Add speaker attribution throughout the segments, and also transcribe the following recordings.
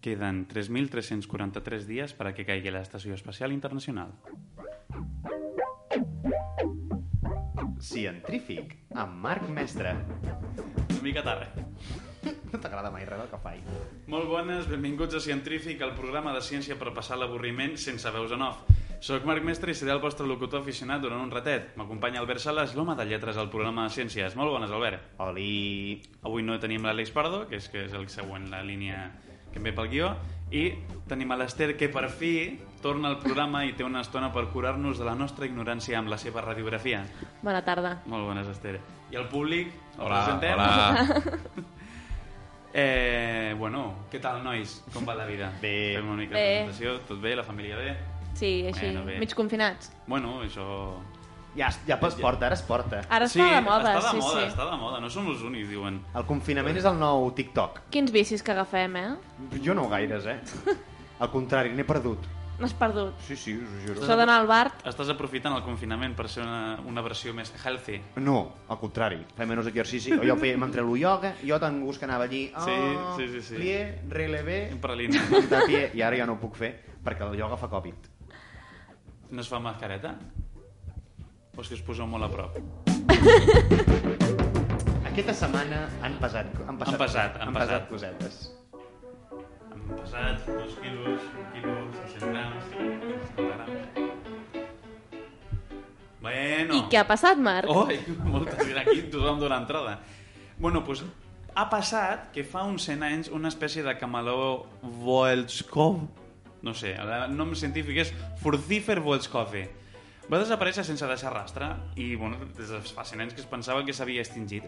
Speaker 1: Queden 3.343 dies per a que caigui l'Estació Espacial Internacional.
Speaker 2: Científic, amb Marc Mestre.
Speaker 1: Una mica tard. eh?
Speaker 2: No t'agrada mai res del que faig.
Speaker 1: Molt bones, benvinguts a Científic, el programa de ciència per passar l'avorriment sense veus en off. Soc Marc Mestre i seré el vostre locutor aficionat durant un ratet. M'acompanya Albert Sales, l'home de lletres al programa de ciències. Molt bones, Albert.
Speaker 2: Oli...
Speaker 1: Avui no tenim l'Àlex Pardo, que és, que és el següent, la línia que em ve pel guió, i tenim a l'Ester, que per fi torna al programa i té una estona per curar-nos de la nostra ignorància amb la seva radiografia.
Speaker 3: Bona tarda.
Speaker 1: Molt bones, Esther. I el públic, el
Speaker 4: Hola,
Speaker 1: presentem.
Speaker 4: hola.
Speaker 1: Eh, bueno, què tal, nois? Com va la vida?
Speaker 2: Bé.
Speaker 1: Fem una mica
Speaker 3: Bé.
Speaker 1: de presentació. Tot bé? La família bé?
Speaker 3: Sí, així,
Speaker 1: Bueno, bé.
Speaker 3: mig confinats.
Speaker 1: Bueno, això...
Speaker 2: Ja, ja es porta, ara es porta.
Speaker 3: Ara està de moda,
Speaker 1: està de
Speaker 3: sí,
Speaker 1: moda,
Speaker 3: sí.
Speaker 1: està de moda. No som els únics, diuen.
Speaker 2: El confinament és el nou TikTok.
Speaker 3: Quins vicis que agafem, eh?
Speaker 2: Jo no gaires, eh? Al contrari, n'he perdut.
Speaker 3: N'has perdut.
Speaker 2: Sí, sí, us ho juro.
Speaker 3: Això d'anar al bar,
Speaker 1: Estàs aprofitant el confinament per ser una, una versió més healthy.
Speaker 2: No, al contrari. Faig menys exercici. Jo feia- me'n treu el ioga, jo tan gust que anava allí... Oh,
Speaker 1: Sí, sí, sí, sí.
Speaker 2: Plie, relevé,
Speaker 1: Prelina.
Speaker 2: de pie, i ara ja no ho puc fer perquè el ioga fa Covid.
Speaker 1: No es fa mascareta? O si us poseu molt a prop?
Speaker 2: Aquesta setmana han passat, han passat,
Speaker 1: Han passat, han
Speaker 2: han
Speaker 1: passat.
Speaker 2: passat cosetes.
Speaker 1: Hem passat dos quilos, un quilo, 600 grams, 50 grams... Bueno...
Speaker 3: i què ha passat, Marc?
Speaker 1: Oi, moltes gràcies. Aquí tothom dona entrada. Bueno, doncs ha passat que fa uns 100 anys una espècie de camaló Voelskov, no sé, el nom científic és Furcifer Voelskove, va desaparèixer sense deixar rastre i bueno, des de fa 100 anys que es pensava que s'havia extingit.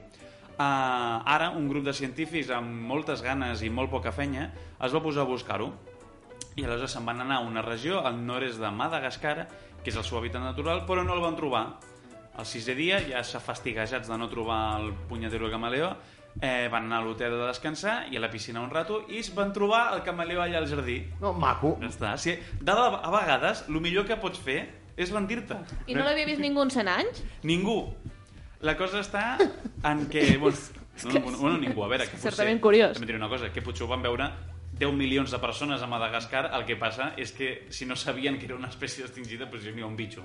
Speaker 1: Uh, ara, un grup de científics amb moltes ganes i molt poca fenya es va posar a buscar-ho i aleshores se'n van anar a una regió al nord-est de Madagascar, que és el seu hàbitat natural, però no el van trobar. El sisè dia, ja s'afastigejats de no trobar el punyetero camaleó, eh, van anar a l'hotel a descansar i a la piscina un rato i es van trobar el camaleó allà al jardí.
Speaker 2: No, maco.
Speaker 1: Ja està. Si, de, de- a vegades, el millor que pots fer és rendir-te.
Speaker 3: I no l'havia vist ningú en 100 anys?
Speaker 1: Ningú. La cosa està en que... Bueno, no, bueno, bueno, ningú, a veure, que potser...
Speaker 3: Certament curiós.
Speaker 1: També et diré una cosa, que potser ho van veure 10 milions de persones a Madagascar, el que passa és que si no sabien que era una espècie extingida, doncs hi havia un bitxo.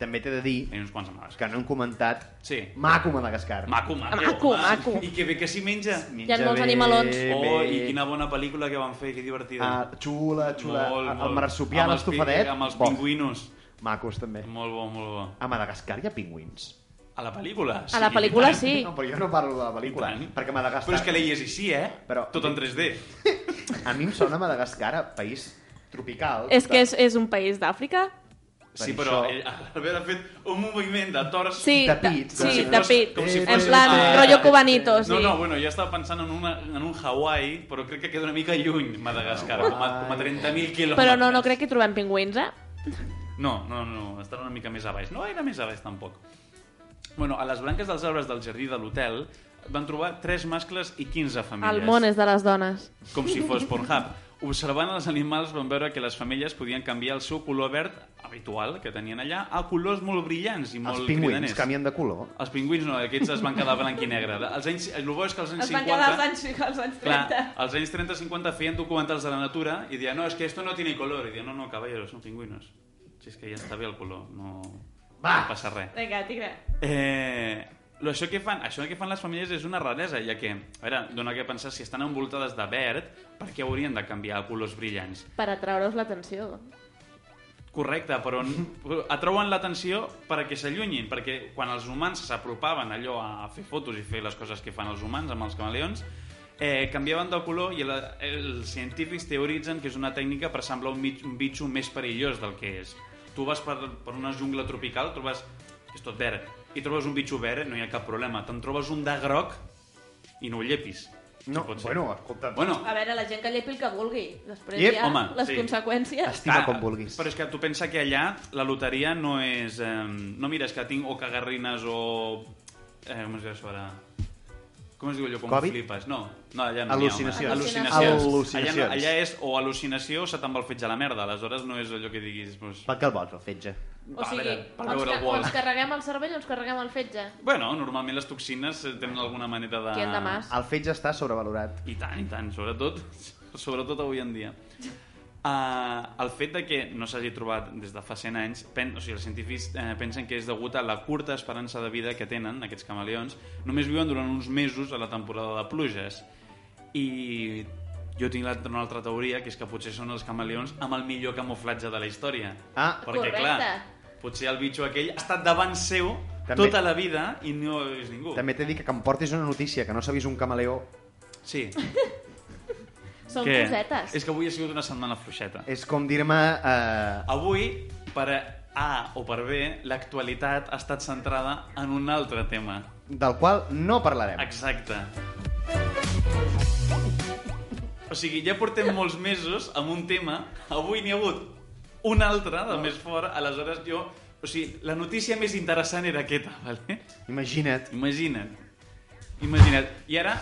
Speaker 2: També t'he de dir
Speaker 1: Hi uns quants a Madagascar.
Speaker 2: que no han comentat
Speaker 1: Sí.
Speaker 2: maco Madagascar.
Speaker 1: Maco, maco.
Speaker 3: Maco,
Speaker 1: home.
Speaker 3: maco.
Speaker 1: I que bé que s'hi menja.
Speaker 2: Menja
Speaker 3: Hi ha molts
Speaker 2: bé,
Speaker 3: animalons.
Speaker 2: bé.
Speaker 1: Oh, i quina bona pel·lícula que van fer, que divertida.
Speaker 2: Ah, xula, xula. Ah, el marsupial
Speaker 1: Amb els pin-
Speaker 2: estofadet.
Speaker 1: Amb els
Speaker 2: bo.
Speaker 1: pingüinos.
Speaker 2: Macos, també.
Speaker 1: Molt bo, molt bo.
Speaker 2: A Madagascar hi ha pingüins?
Speaker 1: A la pel·lícula?
Speaker 3: A la pel·lícula
Speaker 1: i tant.
Speaker 3: sí.
Speaker 2: No, però jo no parlo de la pel·lícula.
Speaker 1: I tant.
Speaker 2: Perquè Madagascar...
Speaker 1: Però és que l'ell és així, eh?
Speaker 2: Però-
Speaker 1: Tot en 3D.
Speaker 2: A mi em sona Madagascar a país tropical.
Speaker 3: És que és, és un país d'Àfrica?
Speaker 1: Sí,
Speaker 2: Per
Speaker 1: però
Speaker 2: això-
Speaker 1: ell- l'Albert ha fet un moviment de tors...
Speaker 3: Sí,
Speaker 2: De pits,
Speaker 3: de,
Speaker 2: com
Speaker 3: sí,
Speaker 2: si
Speaker 3: de
Speaker 1: fos-
Speaker 3: pit.
Speaker 1: com si
Speaker 3: en
Speaker 1: fos-
Speaker 3: plan,
Speaker 1: Ah.
Speaker 3: rotllo cubanito, sí.
Speaker 1: No, no, bueno, jo estava pensant en, una, en un Hawaii, però crec que queda una mica lluny, Madagascar, com a, com a 30.000 quilòmetres.
Speaker 3: Però no, no crec que hi trobem pingüins, eh?
Speaker 1: No, no, no, estan una mica més a baix. No gaire més a baix, tampoc. Bueno, a les branques dels arbres del jardí de l'hotel van trobar 3 mascles i 15 famílies.
Speaker 3: El món és de les dones.
Speaker 1: com si fos Pornhub. Observant els animals van veure que les femelles podien canviar el seu color verd habitual que tenien allà a colors molt brillants i molt
Speaker 2: Els pingüins
Speaker 1: cridaners.
Speaker 2: canvien de color.
Speaker 1: Els pingüins no, aquests es van quedar blanc i negre. Els anys, el bo és que als anys 50...
Speaker 3: anys, als anys
Speaker 1: Clar, als anys 30-50 feien documentals de la natura i deien, no, és que esto no tiene color. I deien, no, no, caballeros, son pingüinos. Si és que ja està bé el color, no,
Speaker 2: Va!
Speaker 1: no passa res.
Speaker 3: Vinga, tigre.
Speaker 1: Eh, lo- això que fan, això que fan les famílies és una raresa, ja que, a veure, dona que pensar si estan envoltades de verd, per què haurien de canviar a colors brillants?
Speaker 3: Per atraure-us l'atenció.
Speaker 1: Correcte, però n- atrauen l'atenció perquè s'allunyin, perquè quan els humans s'apropaven allò a fer fotos i fer les coses que fan els humans amb els camaleons, eh, canviaven de color i la, els científics teoritzen que és una tècnica per semblar un, mig, un bitxo més perillós del que és. Tu vas per, per una jungla tropical, trobes... és tot verd. I trobes un bitxo verd, no hi ha cap problema. Te'n trobes un de groc i no ho llepis.
Speaker 2: No,
Speaker 1: Què pot ser?
Speaker 2: bueno, escolta...
Speaker 1: bueno,
Speaker 3: A veure, la gent que llepi el que vulgui. Després
Speaker 2: Yep,
Speaker 3: hi ha
Speaker 1: home,
Speaker 3: les
Speaker 1: sí.
Speaker 3: conseqüències.
Speaker 2: Estima
Speaker 1: Clar,
Speaker 2: com vulguis.
Speaker 1: ah, Però és que tu pensa que allà la loteria no és... Eh, no mires que tinc o cagarrines o... Eh, com es diu això ara? Com es diu allò quan
Speaker 2: Covid?
Speaker 1: flipes? No, no allà no n'hi ha, home.
Speaker 2: Al·lucinacions.
Speaker 1: Al·lucinacions.
Speaker 2: Al·lucinacions.
Speaker 1: Allà, no, allà és o al·lucinació o se te'n va el fetge a la merda. Aleshores no és allò que diguis... Doncs,
Speaker 2: Per què el vols, el fetge?
Speaker 3: O
Speaker 1: va, a
Speaker 3: sigui,
Speaker 1: veure, per
Speaker 3: o ens,
Speaker 1: veure
Speaker 3: ca
Speaker 1: el
Speaker 3: o
Speaker 1: bol.
Speaker 3: ens carreguem el cervell o ens carreguem el fetge.
Speaker 1: Bueno, normalment les toxines eh, tenen alguna manera de...
Speaker 3: Qui en demà?
Speaker 2: El fetge està sobrevalorat.
Speaker 1: I tant, i tant, sobretot sobretot avui en dia. Uh, el fet de que no s'hagi trobat des de fa 100 anys, pen, o sigui, els científics eh, pensen que és degut a la curta esperança de vida que tenen aquests camaleons. Només viuen durant uns mesos a la temporada de pluges. I jo tinc l'altra- una altra teoria, que és que potser són els camaleons amb el millor camuflatge de la història.
Speaker 2: Ah.
Speaker 1: Perquè,
Speaker 3: Correcte.
Speaker 1: clar, potser el bitxo aquell ha estat davant seu
Speaker 2: També.
Speaker 1: tota la vida i no és ningú.
Speaker 2: També t'he dit que, que em portis una notícia, que no s'ha vist un camaleó.
Speaker 1: Sí.
Speaker 3: Són
Speaker 1: Què?
Speaker 3: cosetes.
Speaker 1: És que avui ha sigut una setmana fluixeta.
Speaker 2: És com dir-me... Eh,
Speaker 1: Avui, per A o per B, l'actualitat ha estat centrada en un altre tema.
Speaker 2: del qual no parlarem.
Speaker 1: Exacte. O sigui, ja portem molts mesos amb un tema, avui n'hi ha hagut un altre de més fort, aleshores jo... O sigui, la notícia més interessant era aquesta, vale?
Speaker 2: Imagina't.
Speaker 1: Imagina't. Imagina't. I ara,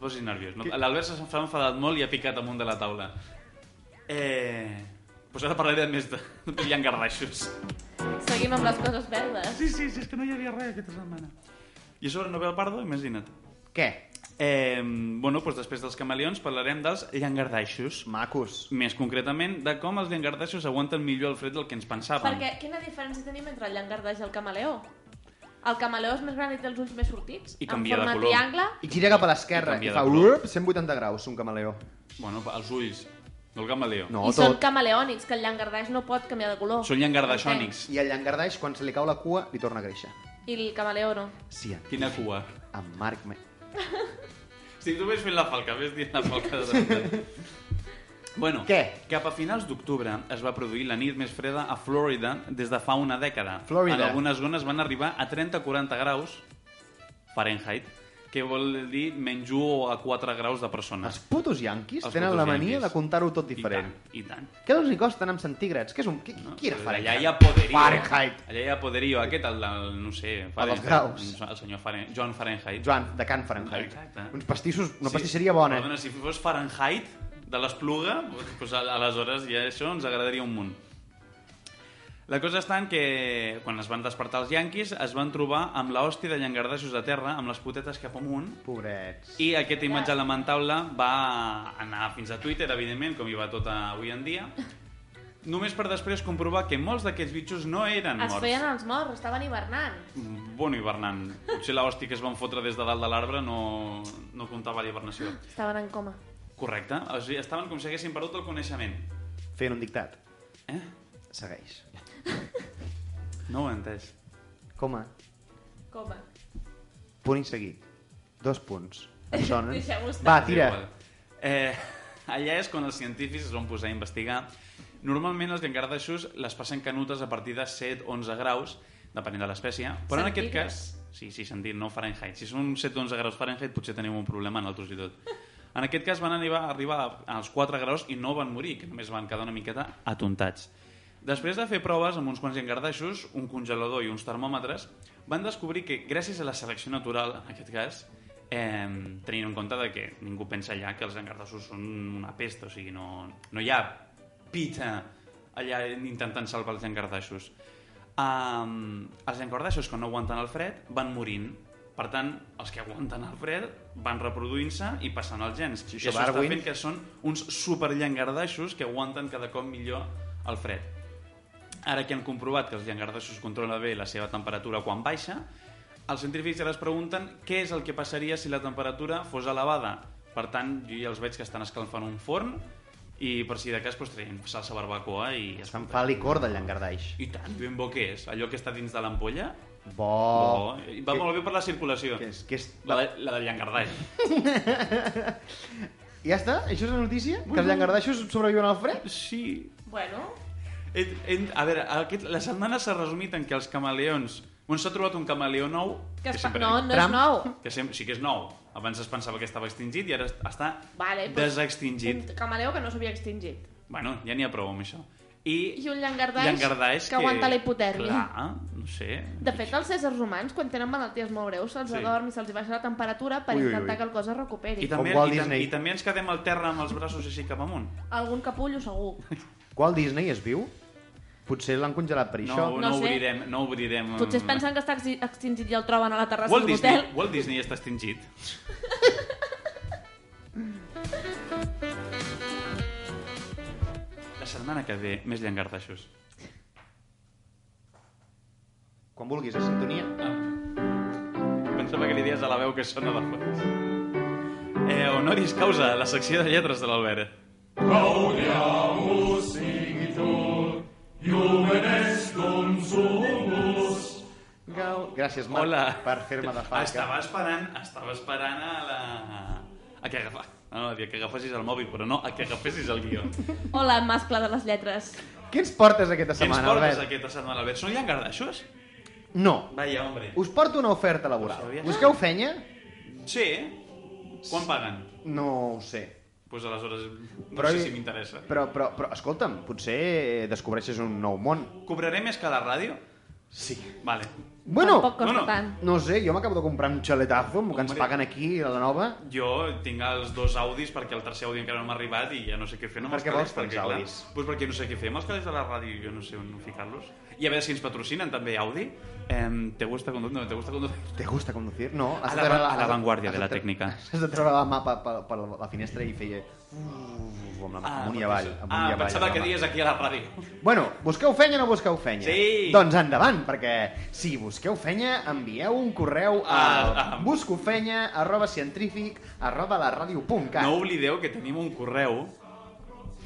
Speaker 1: posis nerviós. No? L'Albert s'ha s'ha enfadat molt i ha picat amunt de la taula. Eh... Pues ara parlaré de més de... de llangardaixos.
Speaker 3: Seguim amb les coses verdes.
Speaker 1: Ah, Sí, sí, sí, és que no hi havia res aquesta setmana. I a sobre no ve el Pardo, imagina't.
Speaker 2: Què?
Speaker 1: Eh, bueno, doncs després dels camaleons parlarem dels llangardaixos.
Speaker 2: Macos.
Speaker 1: Més concretament, de com els llangardaixos aguanten millor el fred del que ens pensàvem.
Speaker 3: Perquè quina diferència tenim entre el llangardaix i el camaleó? El camaleó és més gran i té els ulls més sortits.
Speaker 1: I canvia de
Speaker 3: en forma
Speaker 1: color.
Speaker 3: triangle.
Speaker 2: I gira cap a l'esquerra
Speaker 1: I
Speaker 2: i,
Speaker 1: canvia
Speaker 2: fa
Speaker 1: de color.
Speaker 2: urp, 180 graus, un camaleó.
Speaker 1: Bueno, els ulls, no el camaleó.
Speaker 2: No,
Speaker 3: I són
Speaker 2: tot.
Speaker 3: camaleònics, que el llangardaix no pot canviar de color.
Speaker 1: Són llangardaixònics.
Speaker 2: I el llangardaix, quan se li cau la cua, li torna a créixer.
Speaker 3: I el camaleó no.
Speaker 2: Sí, en,
Speaker 1: Quina cua.
Speaker 2: en Marc... Me...
Speaker 1: Si tu vés fent la falca, vés dient la falca de veritat. Bueno,
Speaker 2: Què?
Speaker 1: cap a finals d'octubre es va produir la nit més freda a Florida des de fa una dècada.
Speaker 2: Florida.
Speaker 1: En algunes zones van arribar a 30-40 graus Fahrenheit, que vol dir menys 1 a 4 graus de
Speaker 2: Els
Speaker 1: persones.
Speaker 2: putos yanquis
Speaker 1: Els
Speaker 2: tenen
Speaker 1: putos
Speaker 2: la mania
Speaker 1: yanquis.
Speaker 2: de comptar-ho tot diferent.
Speaker 1: I tant, i tant.
Speaker 2: Què els hi costen amb centígrads? Què és un... Qui,
Speaker 1: No?
Speaker 2: Quina
Speaker 1: Allà
Speaker 2: Fahrenheit?
Speaker 1: hi ha poderio.
Speaker 2: Fahrenheit.
Speaker 1: Allà hi ha poderio. Aquest, el, del, no sé,
Speaker 2: graus.
Speaker 1: El senyor Fahrenheit, John Fahrenheit.
Speaker 2: Joan, de Can Fahrenheit.
Speaker 1: Exacte.
Speaker 2: Uns pastissos, una pastisseria bona. eh?
Speaker 1: Perdona, si fos Fahrenheit de l'Espluga, doncs, al- aleshores ja això ens agradaria un munt. La cosa està en que quan es van despertar els yanquis es van trobar amb la hòstia de llangardaixos a terra, amb les potetes cap amunt,
Speaker 2: Pobrets.
Speaker 1: i aquesta imatge lamentable va anar fins a Twitter, evidentment, com hi va tot avui en dia, només per després comprovar que molts d'aquests bitxos no eren
Speaker 3: Es
Speaker 1: morts.
Speaker 3: feien els morts, estaven hivernant.
Speaker 1: Bueno, hivernant. Potser l'hòstia que es van fotre des de dalt de l'arbre no, no comptava l'hivernació.
Speaker 3: Estaven en coma.
Speaker 1: Correcte. O sigui, estaven com si haguessin perdut el coneixement.
Speaker 2: Feien un dictat.
Speaker 1: Eh?
Speaker 2: Segueix.
Speaker 1: No ho he entès.
Speaker 2: Coma.
Speaker 3: Coma.
Speaker 2: Punt i seguir. Dos punts. Et sonen?
Speaker 3: Deixem-ho estar.
Speaker 2: Va,
Speaker 1: És
Speaker 2: tira.
Speaker 1: igual. Eh, allà és quan els científics es van posar a investigar. Normalment els llangardaixos les passen canutes a partir de 7-11 graus, depenent de l'espècie, però en aquest cas...
Speaker 3: Centígrads.
Speaker 1: Sí, sí, sentit, no Fahrenheit. Si són 7-11 graus Fahrenheit potser tenim un problema nosaltres i tot. En aquest cas van arribar, arribar als 4 graus i no van morir, que només van quedar una miqueta atontats. Després de fer proves amb uns quants llangardaixos, un congelador i uns termòmetres, van descobrir que gràcies a la selecció natural, en aquest cas, eh, tenint en compte de que ningú pensa allà que els llangardaixos són una pesta, o sigui, no, no hi ha pita allà intentant salvar els llangardaixos. Um, els llangardaixos que no aguanten el fred van morint. Per tant, els que aguanten el fred van reproduint-se i passant els gens.
Speaker 2: Sí,
Speaker 1: I
Speaker 2: això
Speaker 1: això està
Speaker 2: Darwin.
Speaker 1: fent que són uns superllangardaixos que aguanten cada cop millor el fred. Ara que han comprovat que els llangardaixos controla bé la seva temperatura quan baixa, els científics ara es pregunten què és el que passaria si la temperatura fos elevada. Per tant, jo ja els veig que estan escalfant un forn i per si de cas pues, traiem salsa barbacoa i es
Speaker 2: Se'n fa licor del llangardaix.
Speaker 1: I tant, ben bo que és. Allò que està dins de l'ampolla,
Speaker 2: Bo.
Speaker 1: bo. I va molt bé per la circulació.
Speaker 2: Oh. Que és, que és...
Speaker 1: La, de- la del llangardaix.
Speaker 2: Ja està? Això és la notícia? Que els llangardaixos sobreviuen al fred?
Speaker 1: Sí,
Speaker 3: Bueno,
Speaker 1: En, en, a veure, aquest, la setmana s'ha resumit en que els camaleons... Bueno, s'ha trobat un camaleó nou...
Speaker 3: que es...
Speaker 1: sempre-
Speaker 3: no, no
Speaker 2: Trump.
Speaker 3: és nou.
Speaker 1: Que sempre, sí que és nou. Abans es pensava que estava extingit i ara est- està
Speaker 3: Vale, doncs,
Speaker 1: desextingit.
Speaker 3: Un camaleó que no s'havia extingit.
Speaker 1: Bueno, ja n'hi ha prou amb això. I,
Speaker 3: I un llangardaix,
Speaker 1: llangardaix
Speaker 3: que aguanta la hipotèrmia.
Speaker 1: Clar, no sé.
Speaker 3: De fet, els éssers humans, quan tenen malalties molt greus, se'ls
Speaker 1: Sí.
Speaker 3: sí. adorm i se'ls hi baixa la temperatura per
Speaker 2: Ui, ui,
Speaker 3: intentar
Speaker 2: ui.
Speaker 3: que el cos es recuperi.
Speaker 1: I també,
Speaker 2: Com Walt
Speaker 1: i, tam-
Speaker 2: Disney.
Speaker 1: I també ens quedem al terra amb els braços així cap amunt.
Speaker 3: Algun capullo, segur.
Speaker 2: Qual Disney es viu? Potser l'han congelat per
Speaker 1: No,
Speaker 2: això.
Speaker 1: no,
Speaker 3: No sé.
Speaker 1: obrirem, no obrirem... eh,
Speaker 3: Potser es pensen que està exi- extingit i el troben a la terrassa
Speaker 1: Walt
Speaker 3: Walt d'un
Speaker 1: Disney,
Speaker 3: hotel.
Speaker 1: Walt Disney està extingit. setmana que ve més llangardaixos.
Speaker 2: Quan vulguis, a sintonia.
Speaker 1: Ah. Pensava que li dies a la veu que sona de fons. Eh, honoris causa, la secció de lletres de l'Albert.
Speaker 2: Gau. Gràcies, Marc,
Speaker 1: Hola.
Speaker 2: per fer-me de falca.
Speaker 1: Estava esperant, estava esperant a la... A que agafa... No, no, a dir que agafessis el mòbil, però no, a que agafessis el guió.
Speaker 3: Hola, mascle de les lletres.
Speaker 2: Què ens portes aquesta
Speaker 1: Què ens
Speaker 2: setmana,
Speaker 1: portes
Speaker 2: Albert?
Speaker 1: aquesta setmana, Albert? Són llangardaixos?
Speaker 2: No.
Speaker 1: Vaya, hombre.
Speaker 2: Us porto una oferta
Speaker 1: Ho
Speaker 2: laboral.
Speaker 1: sabies?
Speaker 2: Busqueu fenya?
Speaker 1: Sí. Quan paguen?
Speaker 2: No ho sé.
Speaker 1: Doncs pues aleshores no
Speaker 2: Però-
Speaker 1: sé si m'interessa.
Speaker 2: Però, però, però, escolta'm, potser descobreixes un nou món.
Speaker 1: Cobraré més que a la ràdio?
Speaker 2: Sí.
Speaker 1: Vale.
Speaker 2: Bueno,
Speaker 3: Tampoc costa
Speaker 1: no, no.
Speaker 3: tant.
Speaker 2: no sé, jo m'acabo de comprar un xaletazo amb el que ens
Speaker 1: Hombre.
Speaker 2: paguen aquí a la nova.
Speaker 1: Jo tinc els dos Audis perquè el tercer Audi encara no m'ha arribat i ja no sé què fer amb
Speaker 2: Per
Speaker 1: els
Speaker 2: què
Speaker 1: calés.
Speaker 2: vols tants
Speaker 1: clar,
Speaker 2: Audis?
Speaker 1: Doncs perquè no sé què fer amb els calés de la ràdio, jo no sé on ficar-los. I a veure si ens patrocinen també Audi. Eh, ¿Te gusta conducir? No, ¿te gusta conducir?
Speaker 2: ¿Te gusta conducir? No. has
Speaker 1: A
Speaker 2: de
Speaker 1: la-
Speaker 2: treure
Speaker 1: a la
Speaker 2: has de-
Speaker 1: vanguardia
Speaker 2: has
Speaker 1: de la
Speaker 2: tre-
Speaker 1: tècnica.
Speaker 2: Has de treure la mà per, per, per la- la finestra i feia... Uf, amb la mà, amunt i avall. Amunt
Speaker 1: ah,
Speaker 2: i avall,
Speaker 1: pensava
Speaker 2: amb
Speaker 1: que
Speaker 2: la mà.
Speaker 1: dies aquí a la ràdio.
Speaker 2: Bueno, busqueu fenya o no busqueu fenya?
Speaker 1: Sí.
Speaker 2: Doncs endavant, perquè si busqueu fenya, envieu un correu
Speaker 1: Ah,
Speaker 2: a
Speaker 1: ah.
Speaker 2: buscofenya arroba científic arroba la
Speaker 1: No oblideu que tenim un correu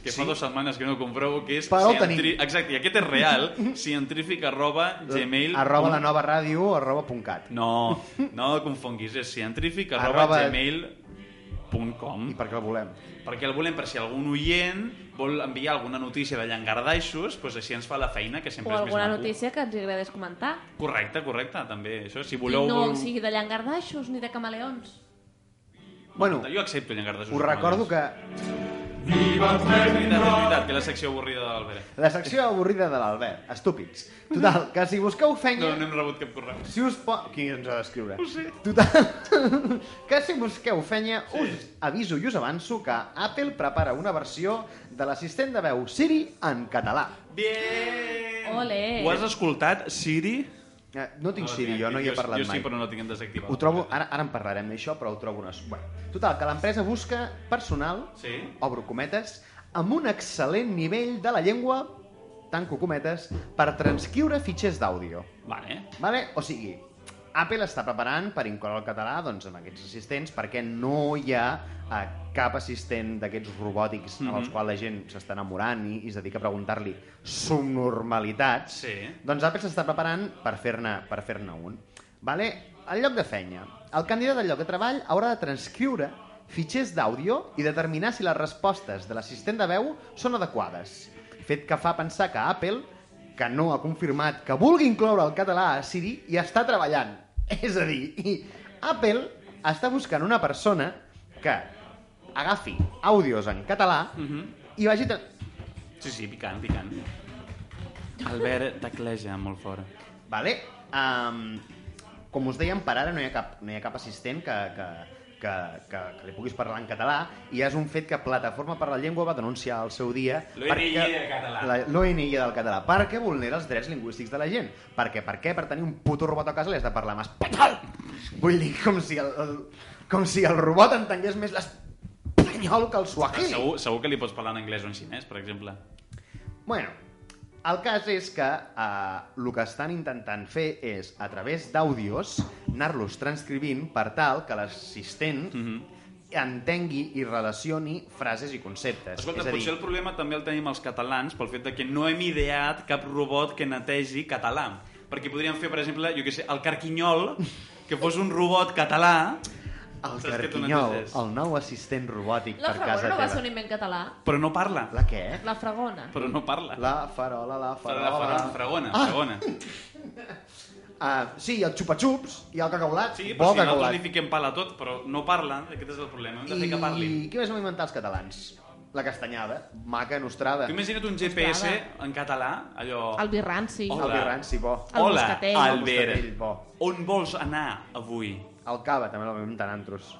Speaker 1: que fa
Speaker 2: Sí?
Speaker 1: dues setmanes que no compreu, que és...
Speaker 2: Però el
Speaker 1: cientri-
Speaker 2: tenim.
Speaker 1: Exacte, i aquest és real, científic arroba gmail...
Speaker 2: Arroba la
Speaker 1: punt-
Speaker 2: nova ràdio arroba punt cat.
Speaker 1: No, no el confonguis, és científic arroba,
Speaker 2: Arroba-
Speaker 1: gmail punt com.
Speaker 2: I per què el volem?
Speaker 1: perquè el volem per si algun oient vol enviar alguna notícia de llangardaixos, doncs així ens fa la feina, que
Speaker 3: O
Speaker 1: sempre és més
Speaker 3: alguna
Speaker 1: maco.
Speaker 3: notícia que ens agradés comentar.
Speaker 1: Correcte, correcte, també. Això, si
Speaker 3: I
Speaker 1: voleu...
Speaker 3: no sigui de llangardaixos ni de camaleons.
Speaker 2: Bueno,
Speaker 1: Jo accepto llangardaixos.
Speaker 2: us recordo que
Speaker 1: És veritat, és veritat, que la secció avorrida de l'Albert.
Speaker 2: la secció avorrida de l'Albert, estúpids. Total, que si busqueu
Speaker 1: No,
Speaker 2: fenya...
Speaker 1: no hem rebut cap correu.
Speaker 2: Si us po... Qui ens ha d'escriure? No sé. Total, que si busqueu fenya, sí. us aviso i us avanço que Apple prepara una versió de l'assistent de veu Siri en català.
Speaker 1: Bien!
Speaker 3: Ole.
Speaker 1: Ho has escoltat, Siri?
Speaker 2: Eh, No tinc
Speaker 1: No,
Speaker 2: Siri, jo no hi he parlat
Speaker 1: Oh, jo, Jo
Speaker 2: mai.
Speaker 1: sí, però no la tinc desactivada.
Speaker 2: Ho trobo, ara, ara en parlarem d'això, però ho trobo una... Bueno, total, que l'empresa busca personal,
Speaker 1: Sí.
Speaker 2: obro cometes, amb un excel·lent nivell de la llengua, tanco cometes, per transcriure fitxers d'àudio.
Speaker 1: Vale.
Speaker 2: Vale? O sigui, Apple està preparant per incloure el català doncs, amb aquests assistents perquè no hi ha eh, cap assistent d'aquests robòtics amb els
Speaker 1: Mhm.
Speaker 2: quals la gent s'està enamorant i, i es dedica a preguntar-li subnormalitats.
Speaker 1: Sí.
Speaker 2: Doncs Apple s'està preparant per fer-ne per fer un. Vale? El lloc de fenya. El candidat al lloc de treball haurà de transcriure fitxers d'àudio i determinar si les respostes de l'assistent de veu són adequades. Fet que fa pensar que Apple, que no ha confirmat que vulgui incloure el català a Siri, i està treballant. És a dir, i Apple està buscant una persona que agafi àudios en català i vagi... tra-
Speaker 1: Sí, sí, picant, picant. Albert tecleja molt fort.
Speaker 2: Vale? Um, com us dèiem, per ara no hi ha cap, no hi ha cap assistent que, que, que, que, que li puguis parlar en català i és un fet que Plataforma per la Llengua va denunciar al seu dia
Speaker 1: L'ONG del català.
Speaker 2: l'ONG del català perquè vulnera els drets lingüístics de la gent. Perquè, per què? Per tenir un puto robot a casa li has de parlar més espanyol! Vull dir, com si el, el, com si el robot entengués més l'espanyol que el suahili.
Speaker 1: Segur, segur que li pots parlar en anglès o en xinès, per exemple.
Speaker 2: Bueno, el cas és que eh, el que estan intentant fer és, a través d'àudios, anar-los transcrivint per tal que l'assistent
Speaker 1: Mhm.
Speaker 2: entengui i relacioni frases i conceptes.
Speaker 1: Escolta,
Speaker 2: és a
Speaker 1: potser
Speaker 2: dir,
Speaker 1: el problema també el tenim els catalans pel fet de que no hem ideat cap robot que netegi català. Perquè podríem fer, per exemple, jo què sé, el carquinyol, que fos un robot català,
Speaker 2: el
Speaker 1: Saps que tu
Speaker 2: Carquinyol,
Speaker 1: neteges.
Speaker 2: el nou assistent robòtic
Speaker 3: La
Speaker 2: per casa
Speaker 3: fragona no va
Speaker 2: teva.
Speaker 3: ser un invent català.
Speaker 1: però no parla.
Speaker 2: La què?
Speaker 3: La fragona.
Speaker 1: Però no parla. La...
Speaker 2: La farola, la farola...
Speaker 1: Fragona, fragona, fragona.
Speaker 2: Ah, sí, el xupa-xups i el cacaulat.
Speaker 1: Sí,
Speaker 2: bo
Speaker 1: però si nosaltres
Speaker 2: cacaulat.
Speaker 1: li fiquem pal a tot, però no parla, aquest és el problema, hem de fer que parli.
Speaker 2: I què més vam inventar els catalans? La castanyada, maca, nostrada.
Speaker 1: Tu imagina't un GPS
Speaker 3: Ostres.
Speaker 1: en català, allò...
Speaker 3: El birranci.
Speaker 1: Hola.
Speaker 2: El birranci, bo.
Speaker 3: El
Speaker 1: Hola,
Speaker 3: moscatell.
Speaker 2: El moscatell,
Speaker 1: Albert,
Speaker 2: bo.
Speaker 1: on vols anar avui?
Speaker 2: El cava també l'hem inventat nosaltres.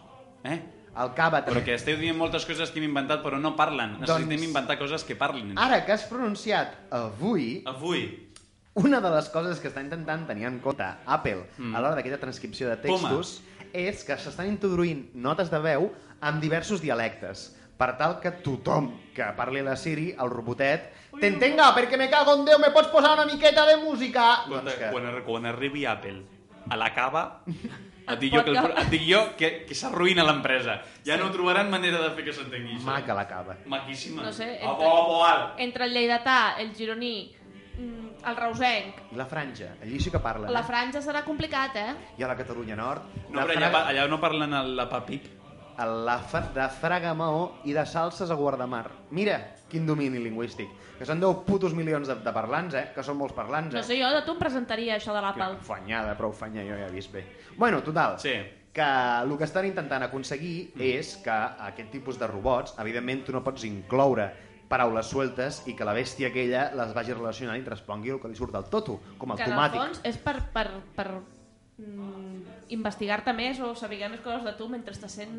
Speaker 1: Eh?
Speaker 2: El cava
Speaker 1: Però
Speaker 2: també.
Speaker 1: que esteu dient moltes coses que hem inventat però no parlen. Necessitem
Speaker 2: Doncs- Ah.
Speaker 1: inventar coses que parlin.
Speaker 2: Ara que has pronunciat avui,
Speaker 1: Avui,
Speaker 2: una de les coses que està intentant tenir en compte Apple
Speaker 1: Mm.
Speaker 2: a l'hora d'aquesta transcripció de textos és que s'estan introduint notes de veu amb diversos dialectes per tal que tothom que parli la Siri, el robotet, t'entenga, perquè me cago en Déu, me pots posar una miqueta de música?
Speaker 1: Quan,
Speaker 2: Doncs que...
Speaker 1: quan, arri- quan arribi Apple a la cava, et dic
Speaker 3: Pot
Speaker 1: jo que, el, pro-
Speaker 3: acabar.
Speaker 1: et dic jo que, que s'arruïna l'empresa. Ja no trobaran manera de fer que s'entengui això.
Speaker 2: Maca la cava.
Speaker 1: Maquíssima.
Speaker 3: No sé,
Speaker 1: A
Speaker 3: entre-
Speaker 1: bo, a bo, alt.
Speaker 3: Entre el lleidatà, el gironí, mm, el reusenc,
Speaker 2: I la franja, allí sí que parlen.
Speaker 3: la
Speaker 2: eh?
Speaker 3: franja serà complicat, eh?
Speaker 2: I a la Catalunya Nord.
Speaker 1: No,
Speaker 2: la
Speaker 1: però allà,
Speaker 2: Fra-
Speaker 1: pa- allà no parlen el, la papip.
Speaker 2: a la fa de Fraga a Maó i de salses a Guardamar. Mira, quin domini lingüístic. Que són 10 putos milions de, de parlants, eh? Que són molts parlants, eh?
Speaker 3: No sé, jo de tu em presentaria això de
Speaker 2: Que
Speaker 3: l'Apple.
Speaker 2: Fanyada, prou fanya, jo ja he vist bé. Bueno, total,
Speaker 1: Sí.
Speaker 2: que el que estan intentant aconseguir és que aquest tipus de robots, evidentment, tu no pots incloure paraules sueltes i que la bèstia aquella les vagi relacionant i et respongui el que li surt del toto, com
Speaker 3: Que en el
Speaker 2: automàtic.
Speaker 3: fons és per, per, per mm, investigar-te més o saber més coses de tu mentre estàs sent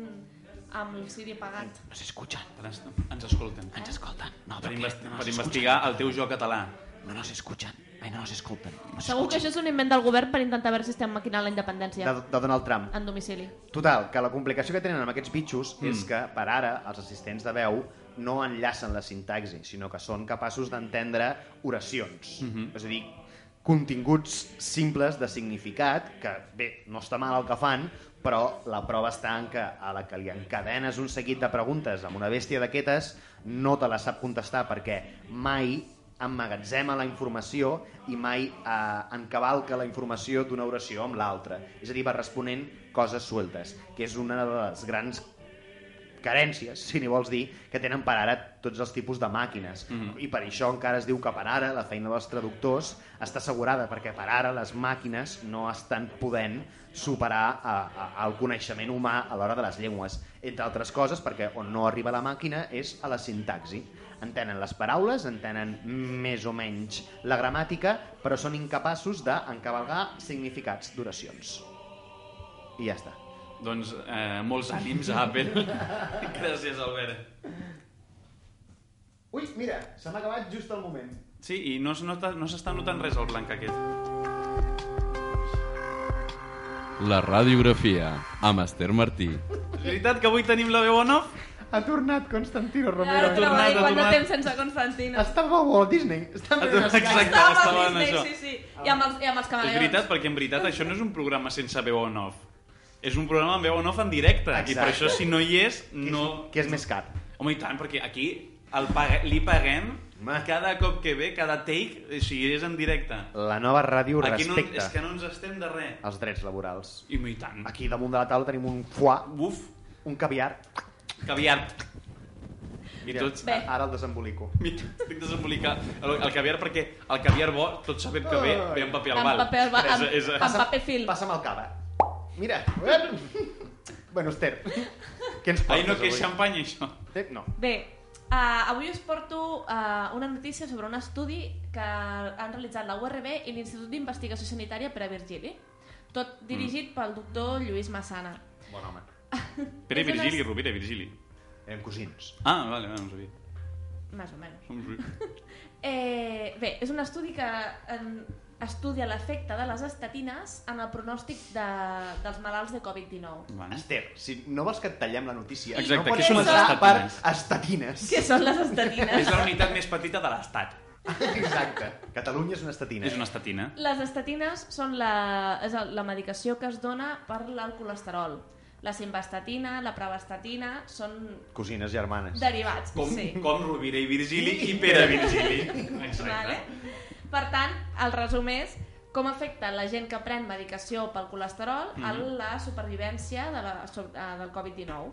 Speaker 3: amb el Siri pagat.
Speaker 2: No s'escuchan,
Speaker 1: Ens, ens escolten.
Speaker 2: ens escolten. No,
Speaker 1: Per,
Speaker 2: perquè
Speaker 1: investi
Speaker 2: no
Speaker 1: per
Speaker 2: nos
Speaker 1: investigar el teu jo català.
Speaker 2: escuchan. No nos escuchan. Ai, no nos escolten. No
Speaker 3: Segur que això és un invent del govern per intentar veure si estem maquinant la independència
Speaker 2: de, de Donald Trump.
Speaker 3: en domicili.
Speaker 2: Total, que la complicació que tenen amb aquests bitxos mm. és que, per ara, els assistents de veu no enllacen la sintaxi, sinó que són capaços d'entendre oracions. Mm -hmm. És a dir, continguts simples de significat, que bé, no està mal el que fan, però la prova està en que a la que li encadenes un seguit de preguntes amb una bèstia d'aquestes no te la sap contestar perquè mai emmagatzema la informació i mai eh, encavalca la informació d'una oració amb l'altra. És a dir, va responent coses sueltes, que és una de les grans carències, si n'hi vols dir, que tenen per ara tots els tipus de màquines. Mm. I per això encara es diu que per ara la feina dels traductors està assegurada, perquè per ara les màquines no estan podent superar a, a, el coneixement humà a l'hora de les llengües. Entre altres coses, perquè on no arriba la màquina és a la sintaxi. Entenen les paraules, entenen més o menys la gramàtica, però són incapaços d'encavalgar significats d'oracions. I ja està.
Speaker 1: Doncs eh, molts ànims a Apple. Gràcies, Albert.
Speaker 2: Ui, mira, se m'ha acabat just el moment.
Speaker 1: Sí, i no es nota- no s'està no notant res el blanc aquest.
Speaker 4: La radiografia amb Esther Martí.
Speaker 1: És veritat que avui tenim la veu on off?
Speaker 2: Ha tornat Constantino
Speaker 1: Claro,
Speaker 2: Romero.
Speaker 1: Ha tornat, ha
Speaker 3: quant de
Speaker 1: tornat.
Speaker 3: temps sense Constantino.
Speaker 2: Estava a Walt Disney. Estava
Speaker 1: Ha tornat- Exacte,
Speaker 3: Estava amb
Speaker 1: estava en
Speaker 3: Disney,
Speaker 1: això.
Speaker 3: Sí, sí. I amb els, i amb els
Speaker 1: És
Speaker 3: camaleons.
Speaker 1: veritat, perquè en veritat això no és un programa sense veu on off. És un programa amb veu on off en directe. I per
Speaker 2: Exacte.
Speaker 1: això, si no hi és, no...
Speaker 2: Que és més car.
Speaker 1: Home, i tant, perquè aquí el paga... li paguem
Speaker 2: Home.
Speaker 1: cada cop que ve, cada take, o sigui, és en directe.
Speaker 2: La nova ràdio
Speaker 1: Aquí no,
Speaker 2: respecta
Speaker 1: és
Speaker 2: Ah.
Speaker 1: que no ens estem de res.
Speaker 2: els drets laborals.
Speaker 1: I home, i tant.
Speaker 2: Aquí damunt de la taula tenim un foie,
Speaker 1: Buf,
Speaker 2: un caviar.
Speaker 1: caviar. I tots...
Speaker 3: Bé.
Speaker 2: Ara el desembolico.
Speaker 1: Mira, estic desembolicat el, el caviar perquè el caviar bo tots sabem que ve, ve en paper al
Speaker 3: Amb
Speaker 1: bal.
Speaker 3: paper al bal, amb-
Speaker 1: És, és,
Speaker 3: amb- paper film.
Speaker 2: Passa'm el cava. Mira. bueno, Esther, què ens portes
Speaker 1: Ai, no, que
Speaker 2: avui?
Speaker 1: és xampany, això.
Speaker 2: Eh, No.
Speaker 3: Bé, uh, avui us porto uh, una notícia sobre un estudi que han realitzat la URB i l'Institut d'Investigació Sanitària per a Virgili, tot dirigit pel doctor Lluís Massana.
Speaker 2: Bon home.
Speaker 1: Pere
Speaker 3: És un
Speaker 1: Virgili,
Speaker 3: est-
Speaker 1: Rovira Virgili.
Speaker 2: Érem cosins.
Speaker 1: Ah, vale, vale, no ho sabia.
Speaker 3: Més o menys.
Speaker 1: No ho sabia.
Speaker 3: Eh, bé, és un estudi que en, estudia l'efecte de les estatines en el pronòstic de, dels malalts de Covid-19.
Speaker 1: Bueno.
Speaker 2: Esther, si no vols que et tallem la notícia,
Speaker 1: Ah. Exacte,
Speaker 2: no pots
Speaker 1: què
Speaker 3: són les
Speaker 2: passar per
Speaker 1: estatines?
Speaker 2: estatines.
Speaker 3: Què són les
Speaker 1: És
Speaker 3: estatines?
Speaker 1: la unitat més petita de l'estat.
Speaker 2: Exacte. Catalunya és una estatina.
Speaker 1: És una estatina.
Speaker 3: Les estatines són la, és el- la medicació que es dona per al colesterol. La simvastatina, la pravastatina són
Speaker 2: Cosines germanes.
Speaker 3: derivats.
Speaker 1: Com,
Speaker 3: sí.
Speaker 1: com eh? Rovira i Virgili i Pere Virgili. Exacte.
Speaker 3: Vale? Per tant, el resum és com afecta la gent que pren medicació pel colesterol mm
Speaker 1: Mhm.
Speaker 3: -hmm. a la supervivència de la, sobre- eh, del Covid-19.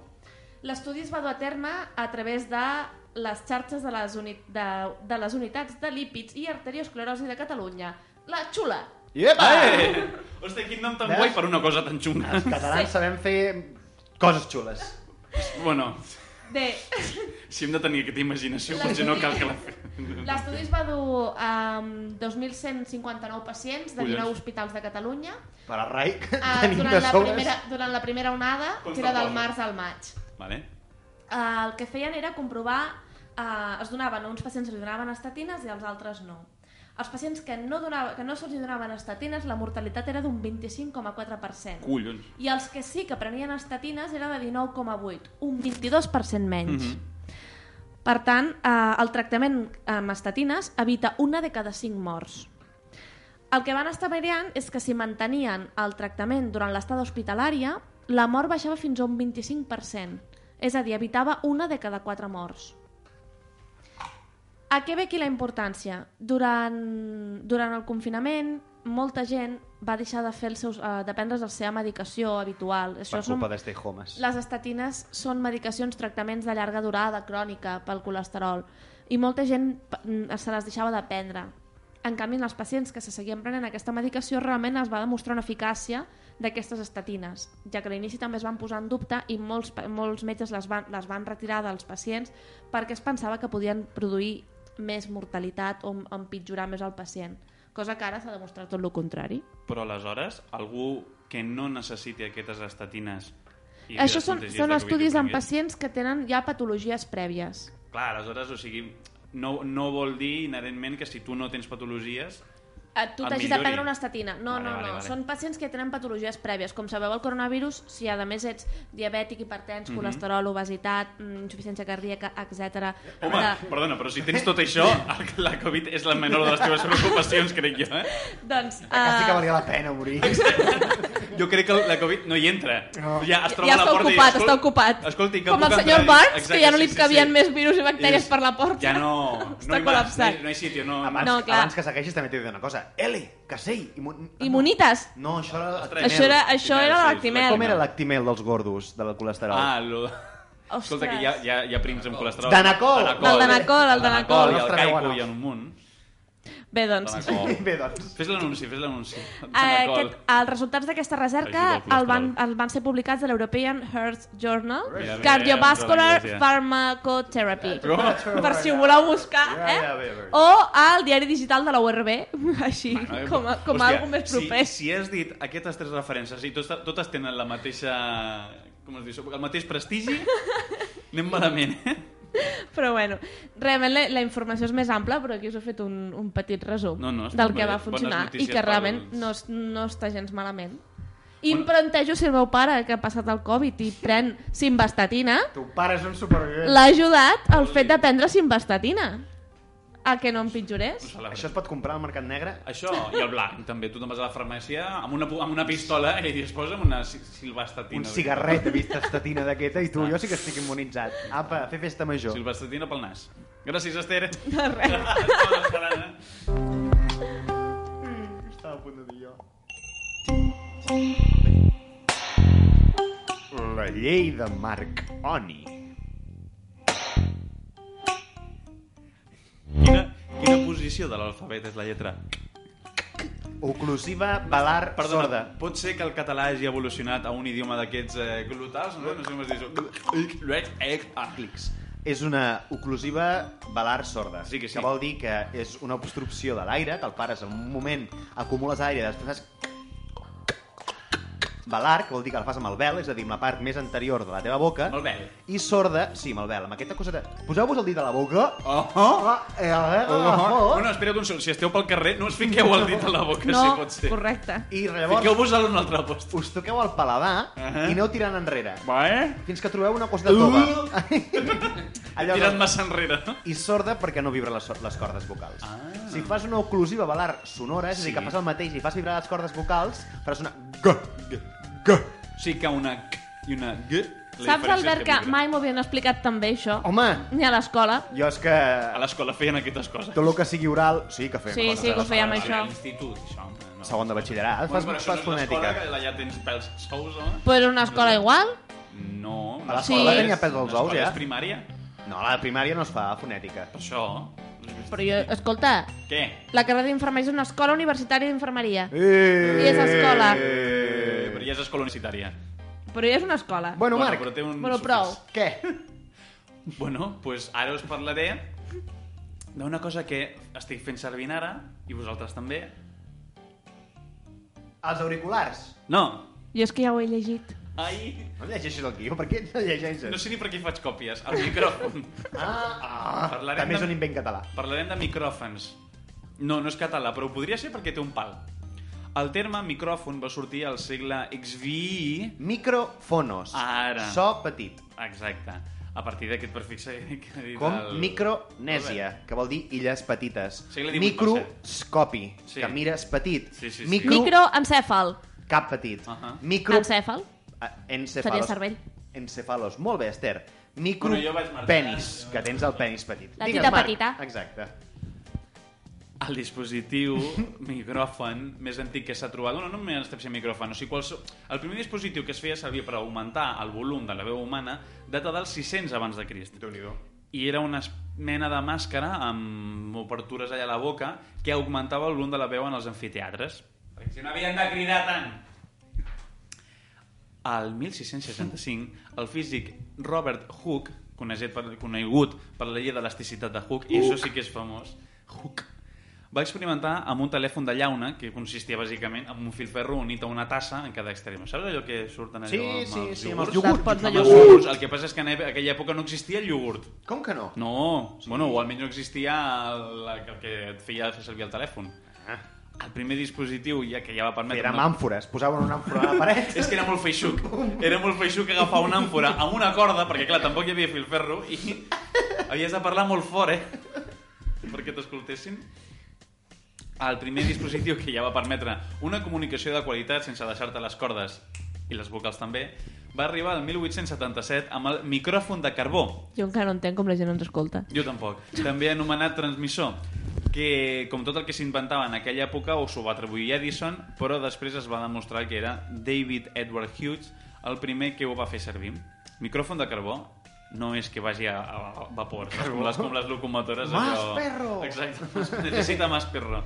Speaker 3: L'estudi es va dur a terme a través de les xarxes de les, uni de, de les unitats de lípids i arteriosclerosi de Catalunya. La xula!
Speaker 2: Iepa!
Speaker 1: Eh! Hòstia, quin nom tan
Speaker 2: Veus?
Speaker 1: guai per una cosa tan xunga.
Speaker 2: Els catalans sí. sabem fer coses xules.
Speaker 1: Bueno,
Speaker 3: Bé,
Speaker 1: si hem de tenir aquesta imaginació,
Speaker 3: La
Speaker 1: potser no cal que la
Speaker 3: l'estudi es va dur a um, 2.159 pacients de
Speaker 1: Collons.
Speaker 3: 19 hospitals de Catalunya
Speaker 2: Per a rai, que
Speaker 3: Ah,
Speaker 2: tenim
Speaker 3: durant,
Speaker 2: de
Speaker 3: la
Speaker 2: sobres.
Speaker 3: primera, durant la primera onada, que era del
Speaker 1: Constantable.
Speaker 3: març al maig.
Speaker 1: Vale.
Speaker 3: Eh, el que feien era comprovar... Eh, es donaven, a uns pacients li donaven estatines i als altres no. Els pacients que no, donava, que no se'ls hi donaven estatines, la mortalitat era d'un 25,4%.
Speaker 1: Collons.
Speaker 3: I els que sí que prenien estatines era de 19,8, un 22% menys.
Speaker 1: Mhm.
Speaker 3: Per tant, eh, el tractament amb estatines evita una de cada cinc morts. El que van estar veriant és que si mantenien el tractament durant l'estada hospitalària, la mort baixava fins a un 25%, és a dir, evitava una de cada quatre morts. A què ve aquí la importància? Durant, durant el confinament, molta gent va deixar de, fer els seus, eh, de prendre's la seva medicació habitual. Això
Speaker 2: per
Speaker 3: són-
Speaker 2: culpa de stay homes.
Speaker 3: les estatines són medicacions, tractaments de llarga durada, crònica, pel colesterol, i molta gent p- mm, se les deixava de prendre. En canvi, en els pacients que se seguien prenent aquesta medicació realment es va demostrar una eficàcia d'aquestes estatines, ja que a l'inici també es van posar en dubte i molts, pa- molts metges les van, les van retirar dels pacients perquè es pensava que podien produir més mortalitat o em- empitjorar més el pacient, cosa que ara s'ha demostrat tot el contrari.
Speaker 1: Però aleshores, algú que no necessiti aquestes estatines... I
Speaker 3: Això
Speaker 1: les
Speaker 3: són,
Speaker 1: contagies
Speaker 3: són
Speaker 1: de
Speaker 3: estudis
Speaker 1: Covid ho
Speaker 3: en
Speaker 1: tingués-
Speaker 3: pacients que tenen ja patologies prèvies.
Speaker 1: Clar, aleshores, o sigui, no, no vol dir inherentment que si tu no tens patologies...
Speaker 3: Eh, tu
Speaker 1: Et
Speaker 3: t'hagis de
Speaker 1: millori.
Speaker 3: prendre una estatina. No,
Speaker 1: Vale,
Speaker 3: no,
Speaker 1: vale,
Speaker 3: no.
Speaker 1: vale.
Speaker 3: Són pacients que ja tenen patologies prèvies. Com sabeu, el coronavirus, si a més ets diabètic, hipertens,
Speaker 1: Mhm.
Speaker 3: colesterol, obesitat, mm, insuficiència cardíaca, etc.
Speaker 1: Home, perdona, però si tens tot això, el- la Covid és la menor de les teves preocupacions, crec jo, eh?
Speaker 3: doncs, uh,
Speaker 2: Quasi que valia la pena morir.
Speaker 1: Jo crec que la Covid no hi entra.
Speaker 2: No.
Speaker 1: Ja es troba
Speaker 3: ja
Speaker 1: a la
Speaker 3: està
Speaker 1: porta
Speaker 3: ocupat,
Speaker 1: i...
Speaker 3: està ocupat.
Speaker 1: Escolti, que em
Speaker 3: Com el
Speaker 1: puc
Speaker 3: senyor
Speaker 1: entrar i-
Speaker 3: Barnes, que
Speaker 1: Exacte,
Speaker 3: ja no li
Speaker 1: sí, sí,
Speaker 3: cabien
Speaker 1: sí.
Speaker 3: més virus i bacteries
Speaker 1: És-
Speaker 3: per la porta.
Speaker 1: Ja no... no
Speaker 3: Està
Speaker 1: hi vas, no,
Speaker 3: col·lapsat.
Speaker 1: hi- no hi sitio, no...
Speaker 2: Abans,
Speaker 1: no.
Speaker 3: No, clar.
Speaker 2: abans que segueixis també t'he de dir una cosa. L, casell, immun...
Speaker 3: Immunites.
Speaker 2: No, això era...
Speaker 1: Ostres.
Speaker 2: Actimel.
Speaker 3: Això
Speaker 1: Lactimel,
Speaker 3: era, això era
Speaker 1: sí,
Speaker 3: l'actimel.
Speaker 2: Com era l'actimel dels gordos, de la colesterol?
Speaker 1: Ah, lo... Escolta, que hi ha, hi ha, hi ha prims amb colesterol.
Speaker 2: Danacol.
Speaker 3: El danacol, el danacol.
Speaker 1: I el
Speaker 2: Nostre
Speaker 1: caico
Speaker 2: Déu,
Speaker 1: i
Speaker 2: no.
Speaker 1: en un munt.
Speaker 3: Bé, doncs...
Speaker 1: Danacol.
Speaker 2: Bé, doncs.
Speaker 1: Fes l'anunci, fes l'anunci.
Speaker 3: Eh,
Speaker 1: Danacol.
Speaker 3: aquest, els resultats d'aquesta recerca
Speaker 1: Ajuda al colesterol.
Speaker 3: el van, el van ser publicats a l'European Heart Journal
Speaker 1: Mira, mira,
Speaker 3: Cardiovascular
Speaker 1: mira, Eh, mira.
Speaker 3: Pharmacotherapy
Speaker 1: Com?
Speaker 3: per si ho voleu buscar
Speaker 2: Ja, ja, bé,
Speaker 3: eh?
Speaker 2: bé.
Speaker 3: o al diari digital de la URB així
Speaker 1: Ah, eh,
Speaker 3: com a, com a algo més proper
Speaker 1: Si, si has dit aquestes tres referències i totes, totes tenen la mateixa... Com es diu? això? El mateix prestigi, anem malament, eh?
Speaker 3: però bueno, realment la, la informació és més ampla però aquí us he fet un, un petit resum
Speaker 1: No, no, està
Speaker 3: del
Speaker 1: bé.
Speaker 3: que va
Speaker 1: Bones
Speaker 3: funcionar i
Speaker 1: notícies
Speaker 3: que realment
Speaker 1: pels-
Speaker 3: no, es- no està gens malament i em plantejo si el meu pare que ha passat el Covid i pren simvastatina
Speaker 2: Tu pare és un supervivent.
Speaker 3: L'ha ajudat el fet de prendre simvastatina. A que no empitjorés?
Speaker 1: Celebrem.
Speaker 2: Això es pot comprar al mercat negre?
Speaker 1: Això, i el blanc, també. Tu te'n vas a la farmàcia amb una, pu- amb una pistola i li posa'm una si- silvastatina.
Speaker 2: Un cigarret de vista estatina d'aquesta i tu, jo sí que estic immunitzat. Apa, a fer festa major.
Speaker 1: Silvastatina pel nas. Gràcies, Esther.
Speaker 3: De res.
Speaker 1: Estava esperant, eh?
Speaker 2: Estava a punt de dir jo. La llei de Marc Oni.
Speaker 1: Quina, quina posició de l'alfabet és la lletra?
Speaker 2: Oclusiva, balar,
Speaker 1: Perdona,
Speaker 2: sorda.
Speaker 1: pot ser que el català hagi evolucionat a un idioma d'aquests eh, glutals? No, no sé com es diu això.
Speaker 2: És una oclusiva balar sorda,
Speaker 1: Sí que sí.
Speaker 2: que vol dir que és una obstrucció de l'aire, que el pares en un moment acumules aire, després fas... Balar, que vol dir que la fas amb el vel, és a dir, amb la part més anterior de la teva boca.
Speaker 1: Amb el vel.
Speaker 2: I sorda, sí, amb el vel, amb aquesta coseta... Poseu-vos el dit a la boca...
Speaker 1: Oh, oh.
Speaker 2: Ah, eh, eh,
Speaker 1: Oh.
Speaker 2: oh,
Speaker 1: No, no, espera't un segon. Si esteu pel carrer, no us fiqueu el dit a la boca,
Speaker 3: No,
Speaker 1: si pot ser.
Speaker 3: correcte.
Speaker 2: I llavors
Speaker 1: Fiqueu-vos a un altre post.
Speaker 2: us toqueu el paladar
Speaker 1: Ahà.
Speaker 2: i aneu tirant enrere.
Speaker 1: Va, eh?
Speaker 2: Fins que trobeu una coseta tova.
Speaker 1: Uh.
Speaker 2: Allò
Speaker 1: Tirat
Speaker 2: no-
Speaker 1: massa enrere, no?
Speaker 2: i sorda perquè no vibra les, so- les cordes vocals.
Speaker 1: Ah.
Speaker 2: Si fas una oclusiva balar sonora, és a
Speaker 1: Sí.
Speaker 2: dir, que fas el mateix i fas vibrar les cordes vocals, faràs una g, g, g.
Speaker 1: O sigui que una c i una g... la
Speaker 3: Saps,
Speaker 1: diferència és
Speaker 3: Albert, que
Speaker 1: vibra.
Speaker 3: mai m'ho havien explicat també, això?
Speaker 2: Home,
Speaker 3: Ni a l'escola.
Speaker 2: jo és que
Speaker 1: A l'escola feien aquestes coses.
Speaker 2: tot el que sigui oral, sí que fem
Speaker 3: Sí,
Speaker 2: coses.
Speaker 3: sí, que ho
Speaker 2: a
Speaker 3: fèiem,
Speaker 1: Ah,
Speaker 3: això.
Speaker 1: A l'institut, això. home, No.
Speaker 2: Segon de batxillerat, fas,
Speaker 1: però això
Speaker 2: fas
Speaker 1: no és l'escola,
Speaker 2: fonètica.
Speaker 1: que allà tens pèls sous, home.
Speaker 3: Però era una escola igual?
Speaker 1: No.
Speaker 2: A
Speaker 1: una
Speaker 2: l'escola
Speaker 1: escola
Speaker 2: tenia
Speaker 1: és-
Speaker 2: pèls als
Speaker 1: una
Speaker 2: ous,
Speaker 1: escola
Speaker 2: ja.
Speaker 1: És primària.
Speaker 2: No, a la primària no es fa fonètica.
Speaker 1: Per això...
Speaker 3: Però jo, escolta,
Speaker 1: Què?
Speaker 3: la carrera d'infermeria és una escola universitària d'infermeria.
Speaker 2: Eh,
Speaker 3: I és escola.
Speaker 1: Eh, però ja és escola universitària.
Speaker 3: Però ja és una escola.
Speaker 2: Bueno, Marc,
Speaker 1: però té un
Speaker 3: Bueno, prou.
Speaker 1: sufix.
Speaker 2: què?
Speaker 1: Bueno, doncs pues ara us parlaré d'una cosa que estic fent servir ara, i vosaltres també.
Speaker 2: Els auriculars.
Speaker 1: No!
Speaker 3: Jo és que ja ho he llegit.
Speaker 1: Ai!
Speaker 2: No llegeixes el guió? Per què no llegeixes?
Speaker 1: No sé ni per què faig còpies, al micròfon.
Speaker 2: Ah, ah
Speaker 1: Parlarem
Speaker 2: també és
Speaker 1: de-
Speaker 2: un invent català.
Speaker 1: Parlarem de micròfons. No, no és català, però ho podria ser perquè té un pal. El terme micròfon va sortir al segle XVI...
Speaker 2: Microfonos.
Speaker 1: Ara.
Speaker 2: So petit.
Speaker 1: Exacte. a partir d'aquest prefixe que ha dit
Speaker 2: Com
Speaker 1: el...
Speaker 2: micronèsia,
Speaker 1: Albert.
Speaker 2: que vol dir illes petites.
Speaker 1: Segle XVIII,
Speaker 2: Microscopi,
Speaker 1: Sí.
Speaker 2: que mires petit.
Speaker 1: Sí, sí, sí.
Speaker 2: Micro,
Speaker 3: Microencèfal.
Speaker 2: cap petit.
Speaker 1: Ahà.
Speaker 2: Micro,
Speaker 3: Encèfal.
Speaker 2: Ah, encefalos.
Speaker 3: Seria cervell.
Speaker 2: Encefalos. Molt bé, Esther. Micro
Speaker 1: Bueno, jo vaig marcar.
Speaker 2: penis, que tens el penis petit.
Speaker 3: La
Speaker 2: Digues,
Speaker 3: tita
Speaker 2: Marc.
Speaker 3: petita.
Speaker 2: Exacte.
Speaker 1: el dispositiu micròfon més antic que s'ha trobat, no, no només ser micròfon, o sigui, qualsevol... el primer dispositiu que es feia servir per augmentar el volum de la veu humana data dels 600 abans de Crist. I era una es- mena de màscara amb obertures allà a la boca que augmentava el volum de la veu en els anfiteatres. Perquè si no havien de cridar tant! Al 1665, el físic Robert Hooke, conegut per, conegut per la llei d'elasticitat de Hooke, i això sí que és famós, Hooke, va experimentar amb un telèfon de llauna que consistia bàsicament en un filferro unit a una tassa en cada extrem. Saps allò que surten allò
Speaker 2: Sí,
Speaker 1: amb
Speaker 2: sí,
Speaker 1: els
Speaker 2: sí, amb
Speaker 1: iogurts?
Speaker 2: els iogurts.
Speaker 3: pots de
Speaker 1: Amb els
Speaker 3: iogurt.
Speaker 1: iogurts. El que passa és que en aquella època no existia el iogurt.
Speaker 2: Com que no?
Speaker 1: No, sí. bueno, o almenys no existia el, el que et feia fer servir el telèfon.
Speaker 2: Ah.
Speaker 1: El primer dispositiu ja que ja va permetre...
Speaker 2: Eren
Speaker 1: una-
Speaker 2: àmfores, posaven una àmfora a la paret.
Speaker 1: és que era molt feixuc. Era molt feixuc agafar una àmfora amb una corda, perquè clar, tampoc hi havia filferro, i havies de parlar molt fort, eh? Perquè t'escoltessin. El primer dispositiu que ja va permetre una comunicació de qualitat sense deixar-te les cordes i les vocals també, va arribar el 1877 amb el micròfon de carbó,
Speaker 3: Jo encara no entenc com la gent ens escolta.
Speaker 1: jo tampoc. També anomenat transmissor, que com tot el que s'inventava en aquella època o s'ho va atribuir Edison, però després es va demostrar que era David Edward Hughes el primer que ho va fer servir. Micròfon de carbó no és que vagi a, a, a vapor, saps? com les, com les locomotores.
Speaker 2: Más perro!
Speaker 1: Exacte, mas- necessita más perro.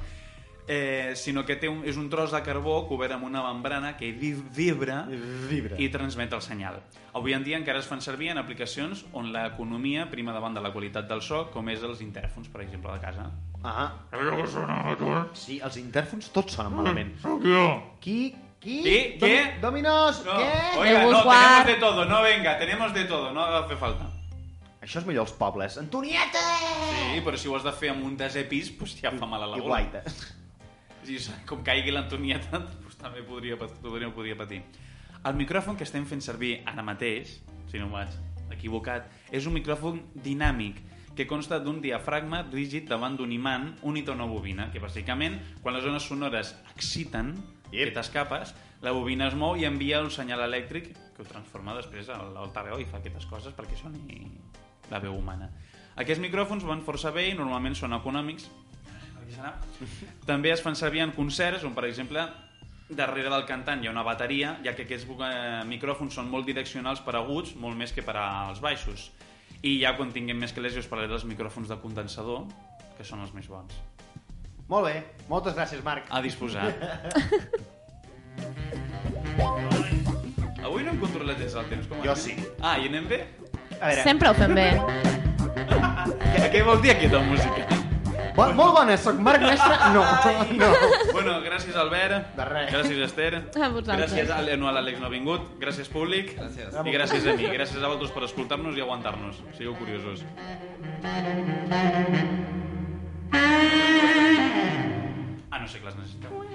Speaker 1: Eh, sinó que té un, és un tros de carbó cobert amb una membrana que vi- vibra
Speaker 2: Vibra.
Speaker 1: i transmet el senyal. Avui en dia encara es fan servir en aplicacions on l'economia prima davant de la qualitat del so, com és els interfons, per exemple, de casa.
Speaker 2: Ah. Sí, els interfons tots sonen malament. Qui? Qui?
Speaker 1: Mm, Qui?
Speaker 2: Domi-
Speaker 1: Què?
Speaker 2: Dominos? Què?
Speaker 3: oi.
Speaker 1: oiga,
Speaker 3: Heu
Speaker 1: no, tenemos
Speaker 3: buscat?
Speaker 1: de todo, no, venga, tenemos de todo, no hace falta.
Speaker 2: Això és millor als pobles. Antonieta!
Speaker 1: Sí, però si ho has de fer amb un desè pis, doncs ja fa mal a la
Speaker 2: I
Speaker 1: gola.
Speaker 2: guaita.
Speaker 1: Sí, com caigui l'Antonieta, doncs també podria, pat- podria, podria patir. El micròfon que estem fent servir ara mateix, si no m'has equivocat, és un micròfon dinàmic que consta d'un diafragma rígid davant d'un imant unit a una bobina, que bàsicament, quan les zones sonores exciten,
Speaker 2: Ep.
Speaker 1: que t'escapes, la bobina es mou i envia un senyal elèctric que ho transforma després a l'altaveu i fa aquestes coses perquè soni la veu humana. Aquests micròfons van força bé i normalment són econòmics, Aquí serà. També es fan servir en concerts on, per exemple, darrere del cantant hi ha una bateria, ja que aquests eh, micròfons són molt direccionals per aguts, molt més que per als baixos. I ja quan tinguem més que les us parlaré dels micròfons de condensador, que són els més bons.
Speaker 2: Molt bé. Moltes gràcies, Marc.
Speaker 1: A disposar. Avui no hem controlat gens el temps, com
Speaker 2: Jo
Speaker 1: anem?
Speaker 2: sí.
Speaker 1: Ah, i anem bé?
Speaker 2: A veure,
Speaker 3: Sempre ho fem bé.
Speaker 1: Què, què vol dir aquesta música?
Speaker 2: bo molt bona, soc Marc Mestre? No, no.
Speaker 1: Bueno, gràcies Albert,
Speaker 2: De res.
Speaker 1: gràcies Esther,
Speaker 3: A vosaltres.
Speaker 1: gràcies a, no, a l'Àlex no ha vingut, gràcies públic gràcies. i gràcies a mi, gràcies a vosaltres per escoltar-nos i aguantar-nos, sigueu curiosos. Ah, no sé que les necessiteu.